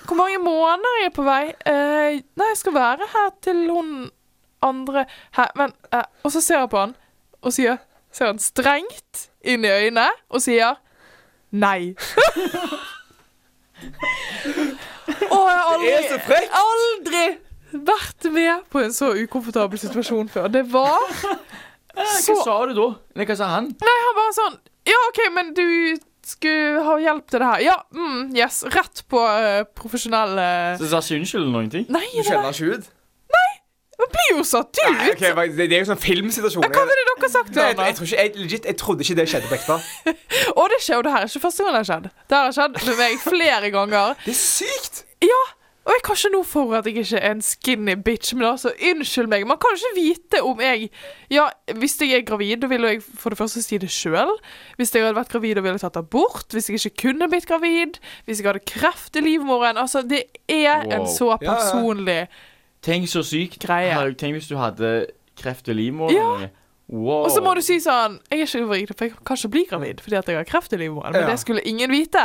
Hvor mange måneder er jeg på vei? Eh, nei, jeg skal være her til hun andre her, men, eh, Og så ser jeg på han og sier, ser han strengt inn i øynene og sier nei. og jeg har Det er så aldri, frekt! aldri vært med på en så ukomfortabel situasjon før. Det var Hva sa du da? Nei, hva sa han? Nei, han bare sånn Ja, OK, men du skulle ha hjelp til det her. Ja, mm, yes. Rett på eh, profesjonell eh, Så sa ikke unnskyld eller noen ting? Nei, Du det var- kjenner ikke ut? man blir jo satt ut! Nei, ok, men det, det er jo sånn filmsituasjon. Hva ville dere sagt til Nei, jeg, han da? jeg, tror ikke, jeg, legit, jeg trodde ikke det skjedde på <laughs> ekte. Og det skjer jo, det her er ikke første gang det har skjedd. Det her har skjedd med meg flere ganger. Det er sykt! Ja, og jeg kan ikke noe for at jeg ikke er en skinny bitch, men altså, unnskyld meg. Man kan ikke vite om jeg Ja, hvis jeg er gravid, da ville jeg for det første si det sjøl. Hvis jeg hadde vært gravid og ville tatt abort. Hvis jeg ikke kunne blitt gravid. Hvis jeg hadde kreft i livmoren. Altså, det er Wow. en så ja. personlig Tenk så sykt. Greie. Herregud, Tenk hvis du hadde kreft i livmoren. Ja. eller noe. Wow. Og så må du si sånn Jeg er ikke gravid, for jeg kan ikke bli gravid fordi at jeg har kreft i livmoren. Men Ja. det skulle ingen vite.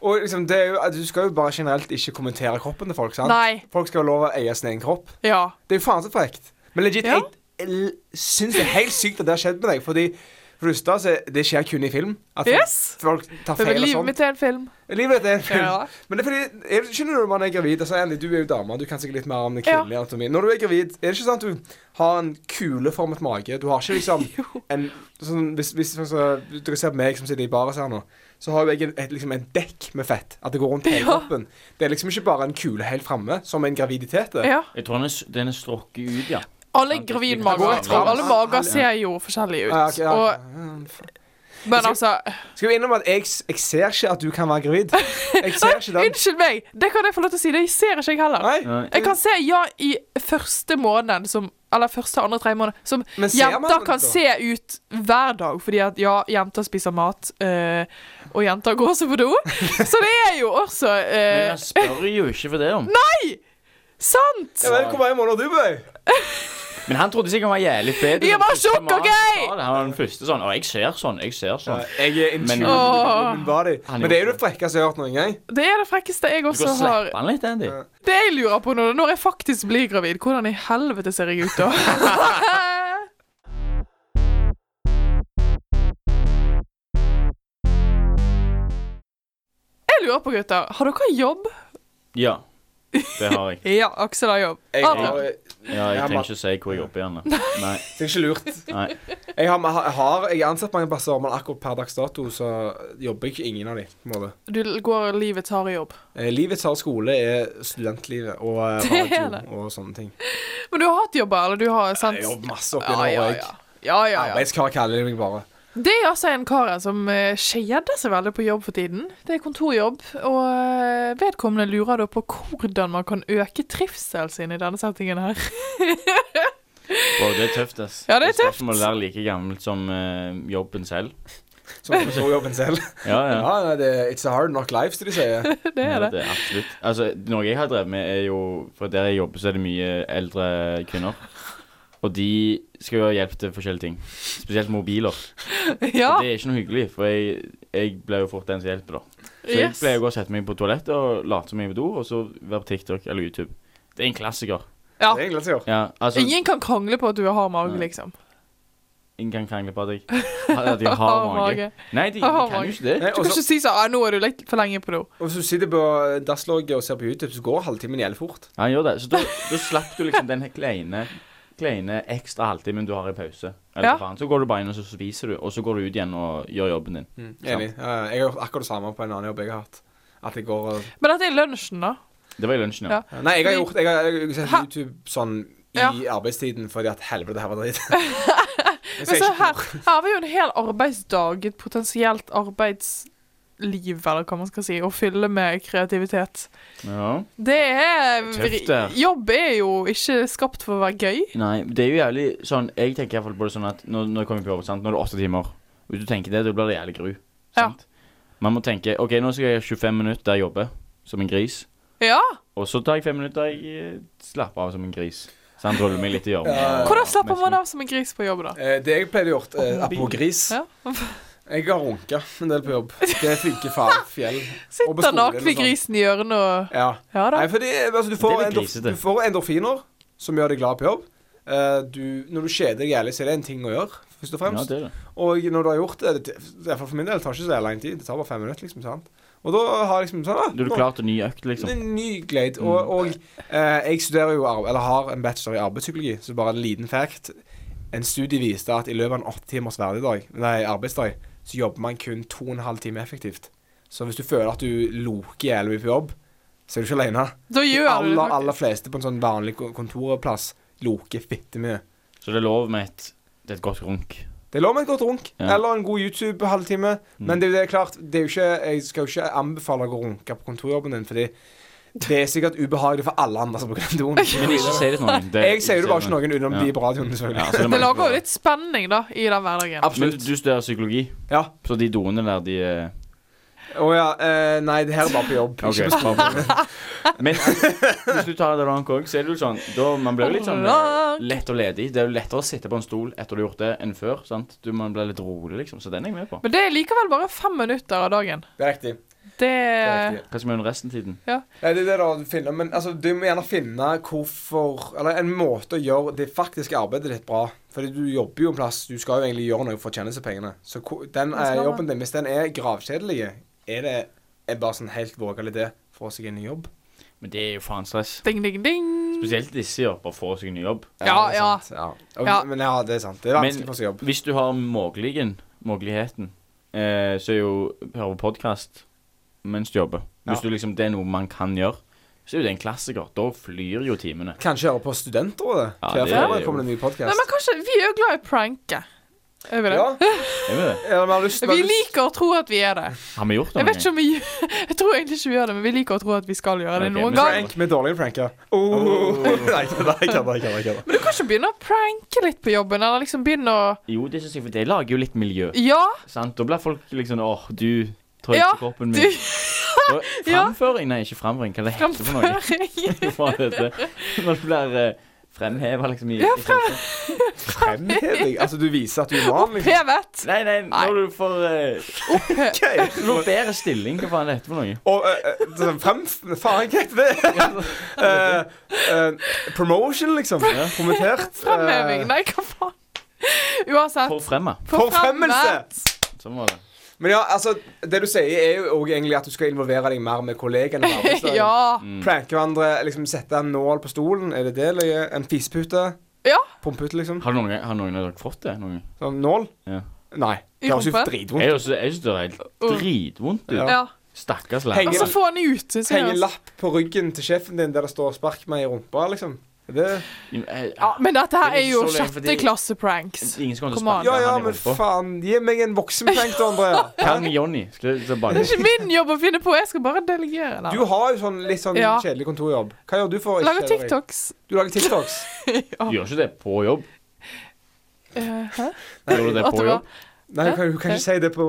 Og liksom, det er jo, Du skal jo bare generelt ikke kommentere kroppen til folk. sant? Nei. Folk skal ha lov å eie sin egen kropp. Ja. Det er jo faen så frekt. Men legit, Ja. jeg l- syns det er helt sykt at det har skjedd med deg. Fordi for det første, så det skjer kun i film. At Yes. folk tar feil Men og livet sånn. mitt er en film. Livet ditt er en film. Ja. Men det er fordi, er, det- skjønner du når man er gravid altså, Andy, Du er jo dame, du kan sikkert litt mer om den kvinnelige anatomien. Når du er gravid, er det ikke sånn at du har en kuleformet mage? Du har ikke <laughs> liksom en sånn, Hvis, hvis sånn så, dere ser på meg som sitter i baris her nå, så har jo jeg en, et, liksom en dekk med fett. At det går rundt hele Ja. kroppen. Det er liksom ikke bare en kule helt framme, som en graviditet er. Ja. Jeg tror den er, s- den er strukket ut, ja. Alle Sant, det gravidmager går og rett alle fram. mager ser jo forskjellige Ah, ok, ut. ja. Og, men Skal- altså Skal vi innrømme at jeg, s- jeg ser ikke at du kan være gravid? Jeg <laughs> ser ikke den. altså, Unnskyld meg! Det kan jeg få lov til å si. Det ser ikke jeg heller. Nei. Nei. Jeg kan se ja i første måneden som Eller første, andre, tredje måned. Som Men ser man jenter det kan da? se ut hver dag, fordi at ja, jenter spiser mat, eh, og jenter går også <laughs> på do. Så det er jo også Men eh, jeg spør jo ikke for det om. sant! Ja, men, hvor mange måneder har du bøy? Men han trodde sikkert han var jævlig fet. Jeg var tjukk, Han ok? sa det. Han var den første sånn Å, jeg ser sånn. Jeg ser sånn. Jeg er in Men- tune with Åh. my body. Han Men det er gjorde jo det frekkeste jeg har hørt noen gang. Det er det frekkeste jeg Du kan også har. slippe han litt, Andy. Ja. Det jeg lurer på nå, når jeg faktisk blir gravid, hvordan i helvete ser jeg ut da? <laughs> jeg lurer på, gutter, har dere jobb? Ja. Det har jeg. Ja, Aksel har jobb. Jeg, Adrian, jeg, Ja, jeg <laughs> Ja, trenger men- ikke å si hvor jeg jobber igjen. da. Nei. det er ikke lurt. Nei. Jeg har, jeg har jeg er ansatt mange plasser, men akkurat per dags dato så jobber jeg ikke ingen av de. på en måte. du går livets harde jobb. Eh, livets harde skole er studentlivet og eh, Det er det. radio og sånne ting. Men du har hatt jobber, eller du har sendt... Jeg jobber masse oppi Ja, nå, ja, og jeg ja. Ja, ja, ja. arbeidskar kaller de meg bare. Det er altså en kar her som eh, skjeder seg veldig på jobb for tiden. Det er kontorjobb, og eh, vedkommende lurer da på hvordan man kan øke trivselen sin i denne settingen her. <laughs> Wow, det er tøft, ass. Ja, det er tøft. Spørsmålet der er like gammelt som eh, jobben selv. Som jeg forstår jobben selv. Ja, ja. Ja, nei, det, It's a hard knock life, som de sier. Det Ja, er det. det er absolutt. Altså, noe jeg har drevet med, er jo For der jeg jobber, så er det mye eldre kvinner. Og de skal jo ha hjelp til forskjellige ting. Spesielt mobiler. Ja, Og det er ikke noe hyggelig, for jeg, jeg ble jo fort den som hjelper, da. Så jeg yes. pleier å gå og sette meg på toalettet og late som jeg er på do, og så være på TikTok eller YouTube. Det er en klassiker. Ja. Det er egentlig det som gjør. Ja, altså Ingen kan krangle på at du har mage, Nei. liksom. Ingen kan krangle på deg. <laughs> At de har mage. Nei, de, de Har kan mage. jo ikke det. Nei, Du og kan så- ikke si sånn «Ah, 'Nå har du lekt for lenge på do'. og hvis du sitter på dasslogget og ser på YouTube, så går halvtimen jævlig fort. Ja, han gjør det. Så da, da slapp du liksom den kleine, kleine ekstra halvtimen du har i pause. Eller Ja. hva faen. Så går du bare inn og så spiser du, og så går du ut igjen og gjør jobben din. Mm, Enig. Eh, jeg har gjort akkurat det samme på en annen jobb jeg har hatt. At jeg går og Men dette er lunsjen, da. Det var i lunsjen, ja. Ja. Nei, jeg har Vi- gjort Jeg har, jeg har sett Hæ? YouTube sånn i Ja. arbeidstiden fordi at helvete, det her var <laughs> dritt. Jeg Men skal så ikke- her, her har vi jo en hel arbeidsdag, et potensielt arbeidsliv, eller hva man skal si, å fylle med kreativitet. ja. Det er Tøft, det. Jobb er jo ikke skapt for å være gøy. Nei, det er jo jævlig sånn Jeg tenker i hvert fall på det sånn at når, når jeg kommer på jobb, sant? Nå er det åtte timer. Hvis du tenker det, da blir det jævlig gru. Sant? Man må tenke OK, nå skal jeg gjøre 25 minutter der jeg jobber, som en gris. Ja! Og så tar jeg fem minutter der jeg eh, slapper av som en gris. Sant? Ruller meg litt i hjørnet. Ja. og- Hvordan slapper mens- man av som en gris på jobb, da? Eh, Det jeg pleide å gjort, eh, apropos gris Ja. Jeg har runka en del på jobb. Det funker faen fjell. Og på Sitter skolen nakne og sånn. grisen i hjørnet og Ja. Ja da. Nei, fordi altså, du, Det får er litt endorf grisete. du får endorfiner, som gjør deg glad på jobb. Eh, du, når du kjeder deg jævlig, så er det en ting å gjøre, først og Ja, fremst. det er det. Og når du har gjort det, det i hvert fall for min del, det tar ikke så lang tid. Det tar bare fem minutter, liksom. sant? Og da har jeg liksom sånn ah, Da er du nå- klar til ny økt, liksom. Mm. En ny glade. Og, og eh, jeg studerer jo, arbe- eller har en bachelor i arbeidspsykologi, så bare en liten fact. En studie viste at i løpet av en åtte timers hverdag, nei, arbeidsdag, så jobber man kun to og en halv time effektivt. Så hvis du føler at du loker jævlig mye på jobb, så er du ikke alene. Da De gjør du aller, det. faktisk. aller fleste på en sånn vanlig ko- kontorplass loker fitte mye. Så det er lov med et, det er et godt runk. Det er lov med et godt runk, Ja. Mm. eller en god YouTube-halvtime, men det, er jo- det er klart, det er jo ikke, jeg skal jo ikke anbefale å gå og runke på kontorjobben din, fordi det er sikkert ubehagelig for alle andre som bruker den doen. Men ikke si det til noen. <laughs> Det- Jeg sier det bare sånn ikke til noen utenom Ja. de på radioen, Ja, selvfølgelig. så det Det må- lager jo litt spenning, da, i den hverdagen. Men Absolutt. du studerer psykologi, Ja. så de doene der, de eh, Å ja, eh, nei, det her er bare på jobb. Ok, Ikke på skolen. <laughs> Men eh, hvis du tar det rank òg, så er det jo sånn da, Man blir jo litt sånn eh, Rank. lett og ledig. Det er jo lettere å sitte på en stol etter du har gjort det, enn før. sant? Du, man blir litt rolig, liksom. Så den er jeg med på. Men det er likevel bare fem minutter av dagen. Det er riktig. Det Det er riktig. Hva skal vi gjøre resten av tiden? Ja, det er det da du finner, men altså, du må gjerne finne hvorfor Eller en måte å gjøre det faktiske arbeidet ditt bra. Fordi du jobber jo en plass, du skal jo egentlig gjøre noe for å tjene seg pengene. Så hvor- den Ja, så eh, la meg. jobben din, hvis den er gravkjedelig, er det er bare sånn helt vågelig det for å få seg en ny jobb? Men det er jo faen stress. Ding, ding, ding. Spesielt disse gjør bare få seg en ny jobb. Ja, det er ja. sant, ja. Og, Ja. Men ja, det er sant. Det er Men- vanskelig å få seg jobb. Hvis du har muligen, muligheten, eh, så er jo høre på podkast mens du jobber. Hvis Ja. du liksom, det er noe man kan gjøre, så er jo det en klassiker. Da flyr jo timene. Kanskje høre på Studentrådet. Ja, Hver det er fredag jo- kommer det en ny Nei, podkast. men kanskje Vi er jo glad i pranker. Er vi det? Ja, Er vi det? eller vi har lyst Vi vi har lyst- liker å tro at vi er det. Har vi gjort det Jeg vet ikke om vi <laughs> Jeg tror egentlig ikke vi gjør det, men vi liker å tro at vi skal gjøre det Ok, noen men- gang. Prank med dårlige pranker. Oh. nei, kødda, jeg kødder, jeg kødder, jeg kødder. Men du kan ikke begynne å pranke litt på jobben, eller liksom begynne å Jo, det synes jeg, for det lager jo litt miljø. Ja! Sant? Da blir folk liksom Åh, du trøyte Ja, kroppen Du, min. <laughs> Da- <laughs> Ja. Framføring? Nei, ikke framføring. Hva er det heter for noe? <laughs> <laughs> framføring. Hva er det? Når du blir eh, fremheva, liksom. I, i samfunnet. Fremheving? Altså, du viser at du er mann, liksom? Hevet. nei, nei, Nei. når du får eh, Du får bedre stilling. Hva faen er det heter for noe? Og eh, eh, sånn frem... Faen, hva heter det? Eh, eh, promotion, liksom. Ja. Promotert. eh, Framheving. Nei, hva faen. Uansett. Forfremma. Forfremmelse! Sånn var det. Men ja, altså, det du sier, er jo også egentlig at du skal involvere deg mer med kollegene. <laughs> i Forfremmet. arbeidsdagen. Ja. Pranke hverandre, liksom sette en nål på stolen. Er det det, eller en fisepute? Ja. Pumpete, liksom. Har noen, har noen av dere fått det? Noen? gang? Sånn nål? Ja. Nei. I Det høres jo rumpa? dritvondt Jeg også- jeg synes det er helt Uh. dritvondt ut. Ja. ja. Stakkars Altså, Og Henger- lærer. så få den ut, syns jeg. Henge en altså. lapp på ryggen til sjefen din der det står 'spark meg i rumpa', liksom. Er Det, Eh, Ja, men dette her Det er er jo så lenge, fordi- sjette klasse-pranks. Ingen skal komme til å Come on. sparke ja ja, han i men rumpa. faen. Gi meg en voksenprank, da, Andrea. Hva med Jonny? Skal du Det <laughs> tilbake? er ikke min jobb å finne på, jeg skal bare delegere. Du Da. har jo sånn litt sånn Ja. kjedelig kontorjobb. Hva gjør du for å ikke Lager kjede deg? TikToks. Du lager TikToks? Du gjør ikke det på jobb? Eh, hæ? Gjør du det At det på var- jobb? Nei, du kan, du kan ikke si det på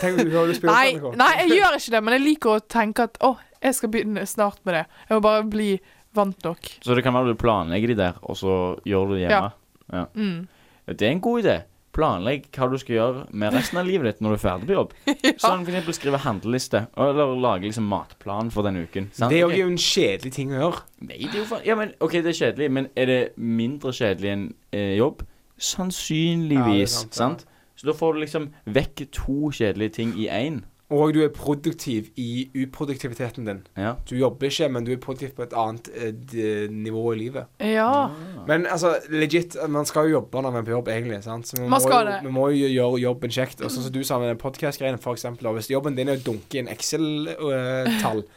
Tenk om du har lyst på Nei, jobb. nei, jeg gjør ikke det, men jeg liker å tenke at å, jeg skal begynne snart med det. Jeg må bare bli vant nok. Så det kan være du planlegger de der, og så gjør du det hjemme. Ja. Mm. Det er en god idé. Planlegg hva du skal gjøre med resten av livet ditt når du er ferdig på jobb. Sånn for eksempel skrive handleliste, eller lage liksom matplan for den uken. sant? Det er Ok. jo en kjedelig ting å gjøre. Nei, det er jo faen... Ja, men OK, det er kjedelig, men er det mindre kjedelig enn eh, jobb? Ja, det er Sannsynligvis. sant, sant, ja. Så da får du liksom vekk to kjedelige ting i én. Og du er produktiv i uproduktiviteten din. Ja. Du jobber ikke, men du er produktiv på et annet eh, d- nivå i livet. Ja. Men altså, legit, man skal jo jobbe når man er på jobb, egentlig. sant? Så Man skal må jo, det. Vi må jo gjøre jobben kjekt. Og sånn som du sa med den podkast-greien, for eksempel. og Hvis jobben din er å dunke inn Excel-tall <laughs>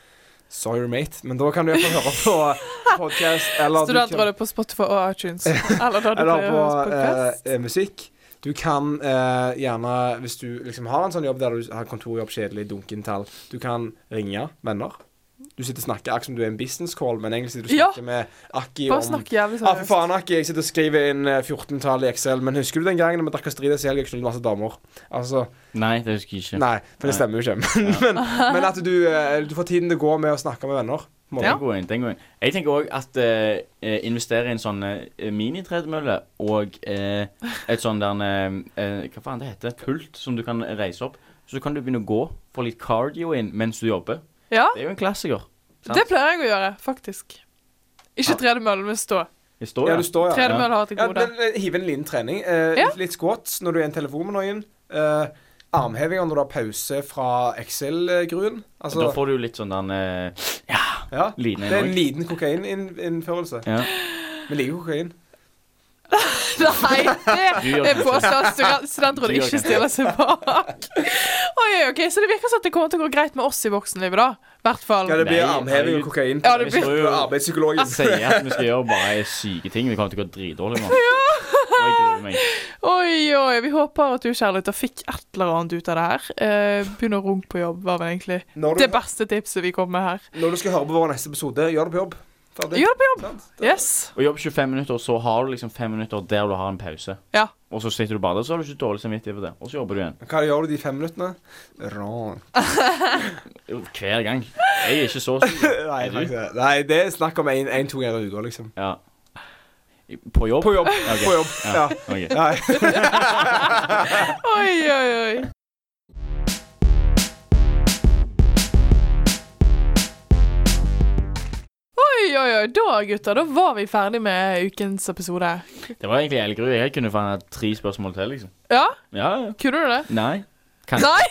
Sorry, mate, men da kan du iallfall høre på podkast eller du kan- Studentrådet på Spotify <laughs> og iTunes. Eller da du eller pleier å høre på podkast. eh, eh, musikk. Du kan eh, gjerne, hvis du liksom har en sånn jobb der du har kontorjobb, kjedelig, dunken tall, du kan ringe venner. Du sitter og snakker akkurat som du er i en business call, men egentlig sitter du og Ja. snakker med Akki Bare om snakk jævlig Ja, Ah, for seriøst. faen, Akki, jeg sitter og skriver inn eh, 14-tall i Excel, men husker du den gangen vi drakk Astrides i helga og knulte masse damer? Altså, Nei, det husker jeg ikke. nei, for det Nei. stemmer jo ikke. <laughs> Men, men, men at du, eh, du får tiden til å gå med å snakke med venner. på en måte. Den går inn, den går inn. Jeg tenker òg at eh, eh, investere i en sånn eh, minitredemølle og eh, et sånn der eh, eh, Hva faen det heter? Pult som du kan reise opp. Så kan du begynne å gå, få litt cardio inn mens du jobber. Ja, Det er jo en klassiker. sant? det pleier jeg å gjøre, faktisk. Ikke tredemølle, men stå. Det står Ja, ja. du står, ja. Tredemølle har jeg til ja gode. men, eh, hive inn en liten trening. Eh, Ja. Litt squats når du er i en telefon med noen. Eh, armhevinger når du har pause fra Excel-gruen. Altså, Da får du litt sånn der eh, ja. line Det er en inn òg. liten kokaininnførelse. Ja. Vi liker kokain. <laughs> Nei, Du det gjør jeg det påstår at student- Du studentrådet gjør ikke det. stiller seg bak. <laughs> Oi, ok, Så det virker som at det kommer til å gå greit med oss i voksenlivet, da. I hvert fall. Ja, det blir Nei, armheving og herregud. kokain. Ja, det Vi står Du jo er og arbeidspsykologen. sier at vi skal gjøre bare syke ting. Vi kommer til å gå <laughs> dritdårlig nå. Og jeg gruer meg. Oi, oi, vi håper at du, kjærligheter, fikk et eller annet ut av det her. Eh, begynn å runke på jobb, var vel egentlig <laughs> Når du, det beste tipset vi kom med her. når du skal høre på vår neste episode, gjør det på jobb. Ferdig. Gjør det på jobb! Sant? Det- Yes. Og jobb 25 minutter, og så har du liksom 5 minutter der du har en pause. Ja. Og så sitter du bare der, så har du ikke dårlig samvittighet for det. Og så jobber du igjen. Hva gjør du de fem minuttene? Ran. Hver gang. Jeg er ikke så sur. Nei, Er du? faktisk, ikke. nei, det er snakk om én-to ganger i uka, liksom. Ja. På jobb? På jobb. Ok. På jobb. Ja. Ok. Nei. Oi, oi, oi. Oi, oi, oi. Da, gutter, da var vi ferdig med ukens episode. Det var egentlig hele grunnen. Jeg kunne faen hatt tre spørsmål til, liksom. Ja, Ja, ja. kunne du det? <laughs> Nei. Kan- Nei!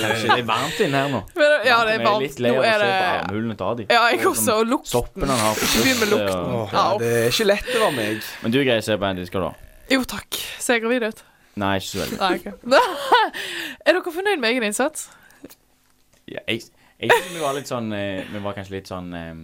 Kanskje det er varmt inne her nå. Men, ja, det er Jeg varmt. litt lei Nå av å er se det på armhulene til Adi. Ja, jeg også. sånn Og lukt. Soppen han har på Begynn med brystet, lukten. og- Åh, ja, Au. det er ikke lett å være meg. Men du greier å se på en disker, da? Jo takk. Ser jeg gravid ut? Nei, ikke så veldig. Nei, ok. <laughs> er dere fornøyd med egen innsats? <laughs> Ja, jeg, jeg synes vi var litt sånn eh, Vi var kanskje litt sånn eh,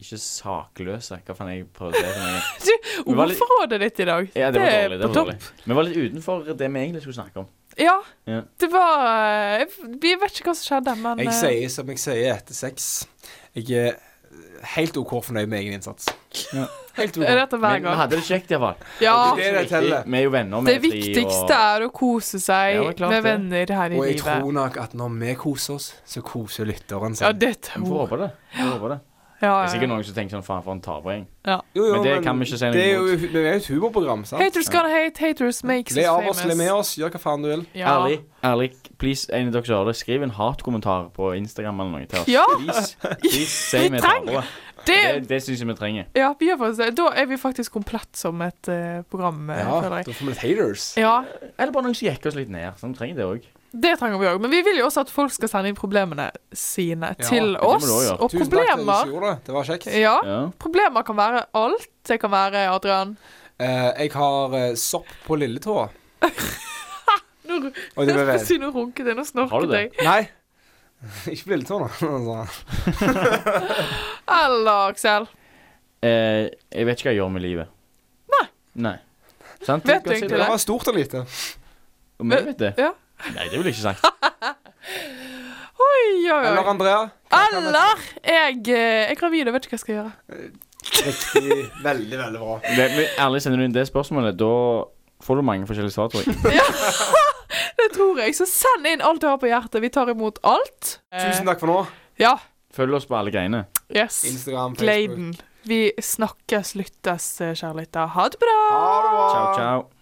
Ikke sakløse. Hva faen jeg prøvde å si? for noe? Vi var litt- Ordforrådet ditt i dag. Ja, det var er dårlig. det på var topp. dårlig Vi var litt utenfor det vi egentlig skulle snakke om. Ja, Ja. det var eh, Jeg vet ikke hva som skjedde, men Jeg eh, sier som jeg sier etter sex. Jeg er helt OK fornøyd med egen innsats. Ja. Helt OK. er dette Men hver vi gang? hadde det kjekt, iallfall. Ja. Det er det teller. Altså, Vi er jo venner. vi Det er fri, viktigste er å kose seg Ja, det er klart med det. venner her i Og jeg tror livet. nok at når vi koser oss, så koser lytteren Ja, seg. det og, tror Vi får jeg. håpe det. Vi får håpe det. Ja, Det er sikkert ja. noen som tenker sånn faen for en tapergjeng. Jo, jo, Men det kan vi ikke si noe det er jo, Vi er jo et humorprogram, sant? Haters gonna hate, haters makes Le av us oss, le med famous. oss, gjør hva faen du vil. Ja. Ærlig, ærlig, please, en av dere som hører det, skriv en hatkommentar på Instagram eller noe til oss. Ja. Please, <laughs> please, si Vi vi er trenger- tapere. Det, Det, det syns jeg vi trenger. ja, vi gjør faktisk det. Da er vi faktisk komplett som et eh, program, eh, Ja, føler da jeg. får vi litt haters. Ja, Eller bare noen som jekker oss litt ned. Sånn, vi trenger det òg. det trenger vi òg. Men vi vil jo også at folk skal sende inn problemene sine Ja, til det må oss. du også gjøre. Og Tusen takk til dere problemer Eh, som gjorde det. Det var kjekt. Ja, Ja. problemer kan være alt. Det kan være, Adrian Eh, jeg har eh, sopp på lilletåa. Nå Og <laughs> det ble vel. Si nå runket jeg, nå Har du snorket det? jeg. Nei. <laughs> Ikke på lilletåa, nå. Eller Aksel. Eh, jeg vet ikke hva jeg gjør med livet. Nei. Sant? Vet Kan du si egentlig Det var stort og lite. Om jeg vet det? Ja. Nei, det ville jeg ikke sagt. Oi, oi, oi. Eller Andrea. Eller jeg, eh, er gravid og vet ikke hva jeg skal gjøre. Riktig. Veldig, veldig bra. Men, men ærlig, sender du inn det spørsmålet, da får du mange forskjellige svar, tror <laughs> jeg. Det tror jeg. Så send inn alt du har på hjertet. Vi tar imot alt. Eh, Tusen takk for nå. Ja. Følg oss på alle greiene. Yes. Instagram, Facebook. Gladen. Vi snakkes, lyttes, kjærligheter. eh, Ha det bra. Ha det bra. Ciao, ciao.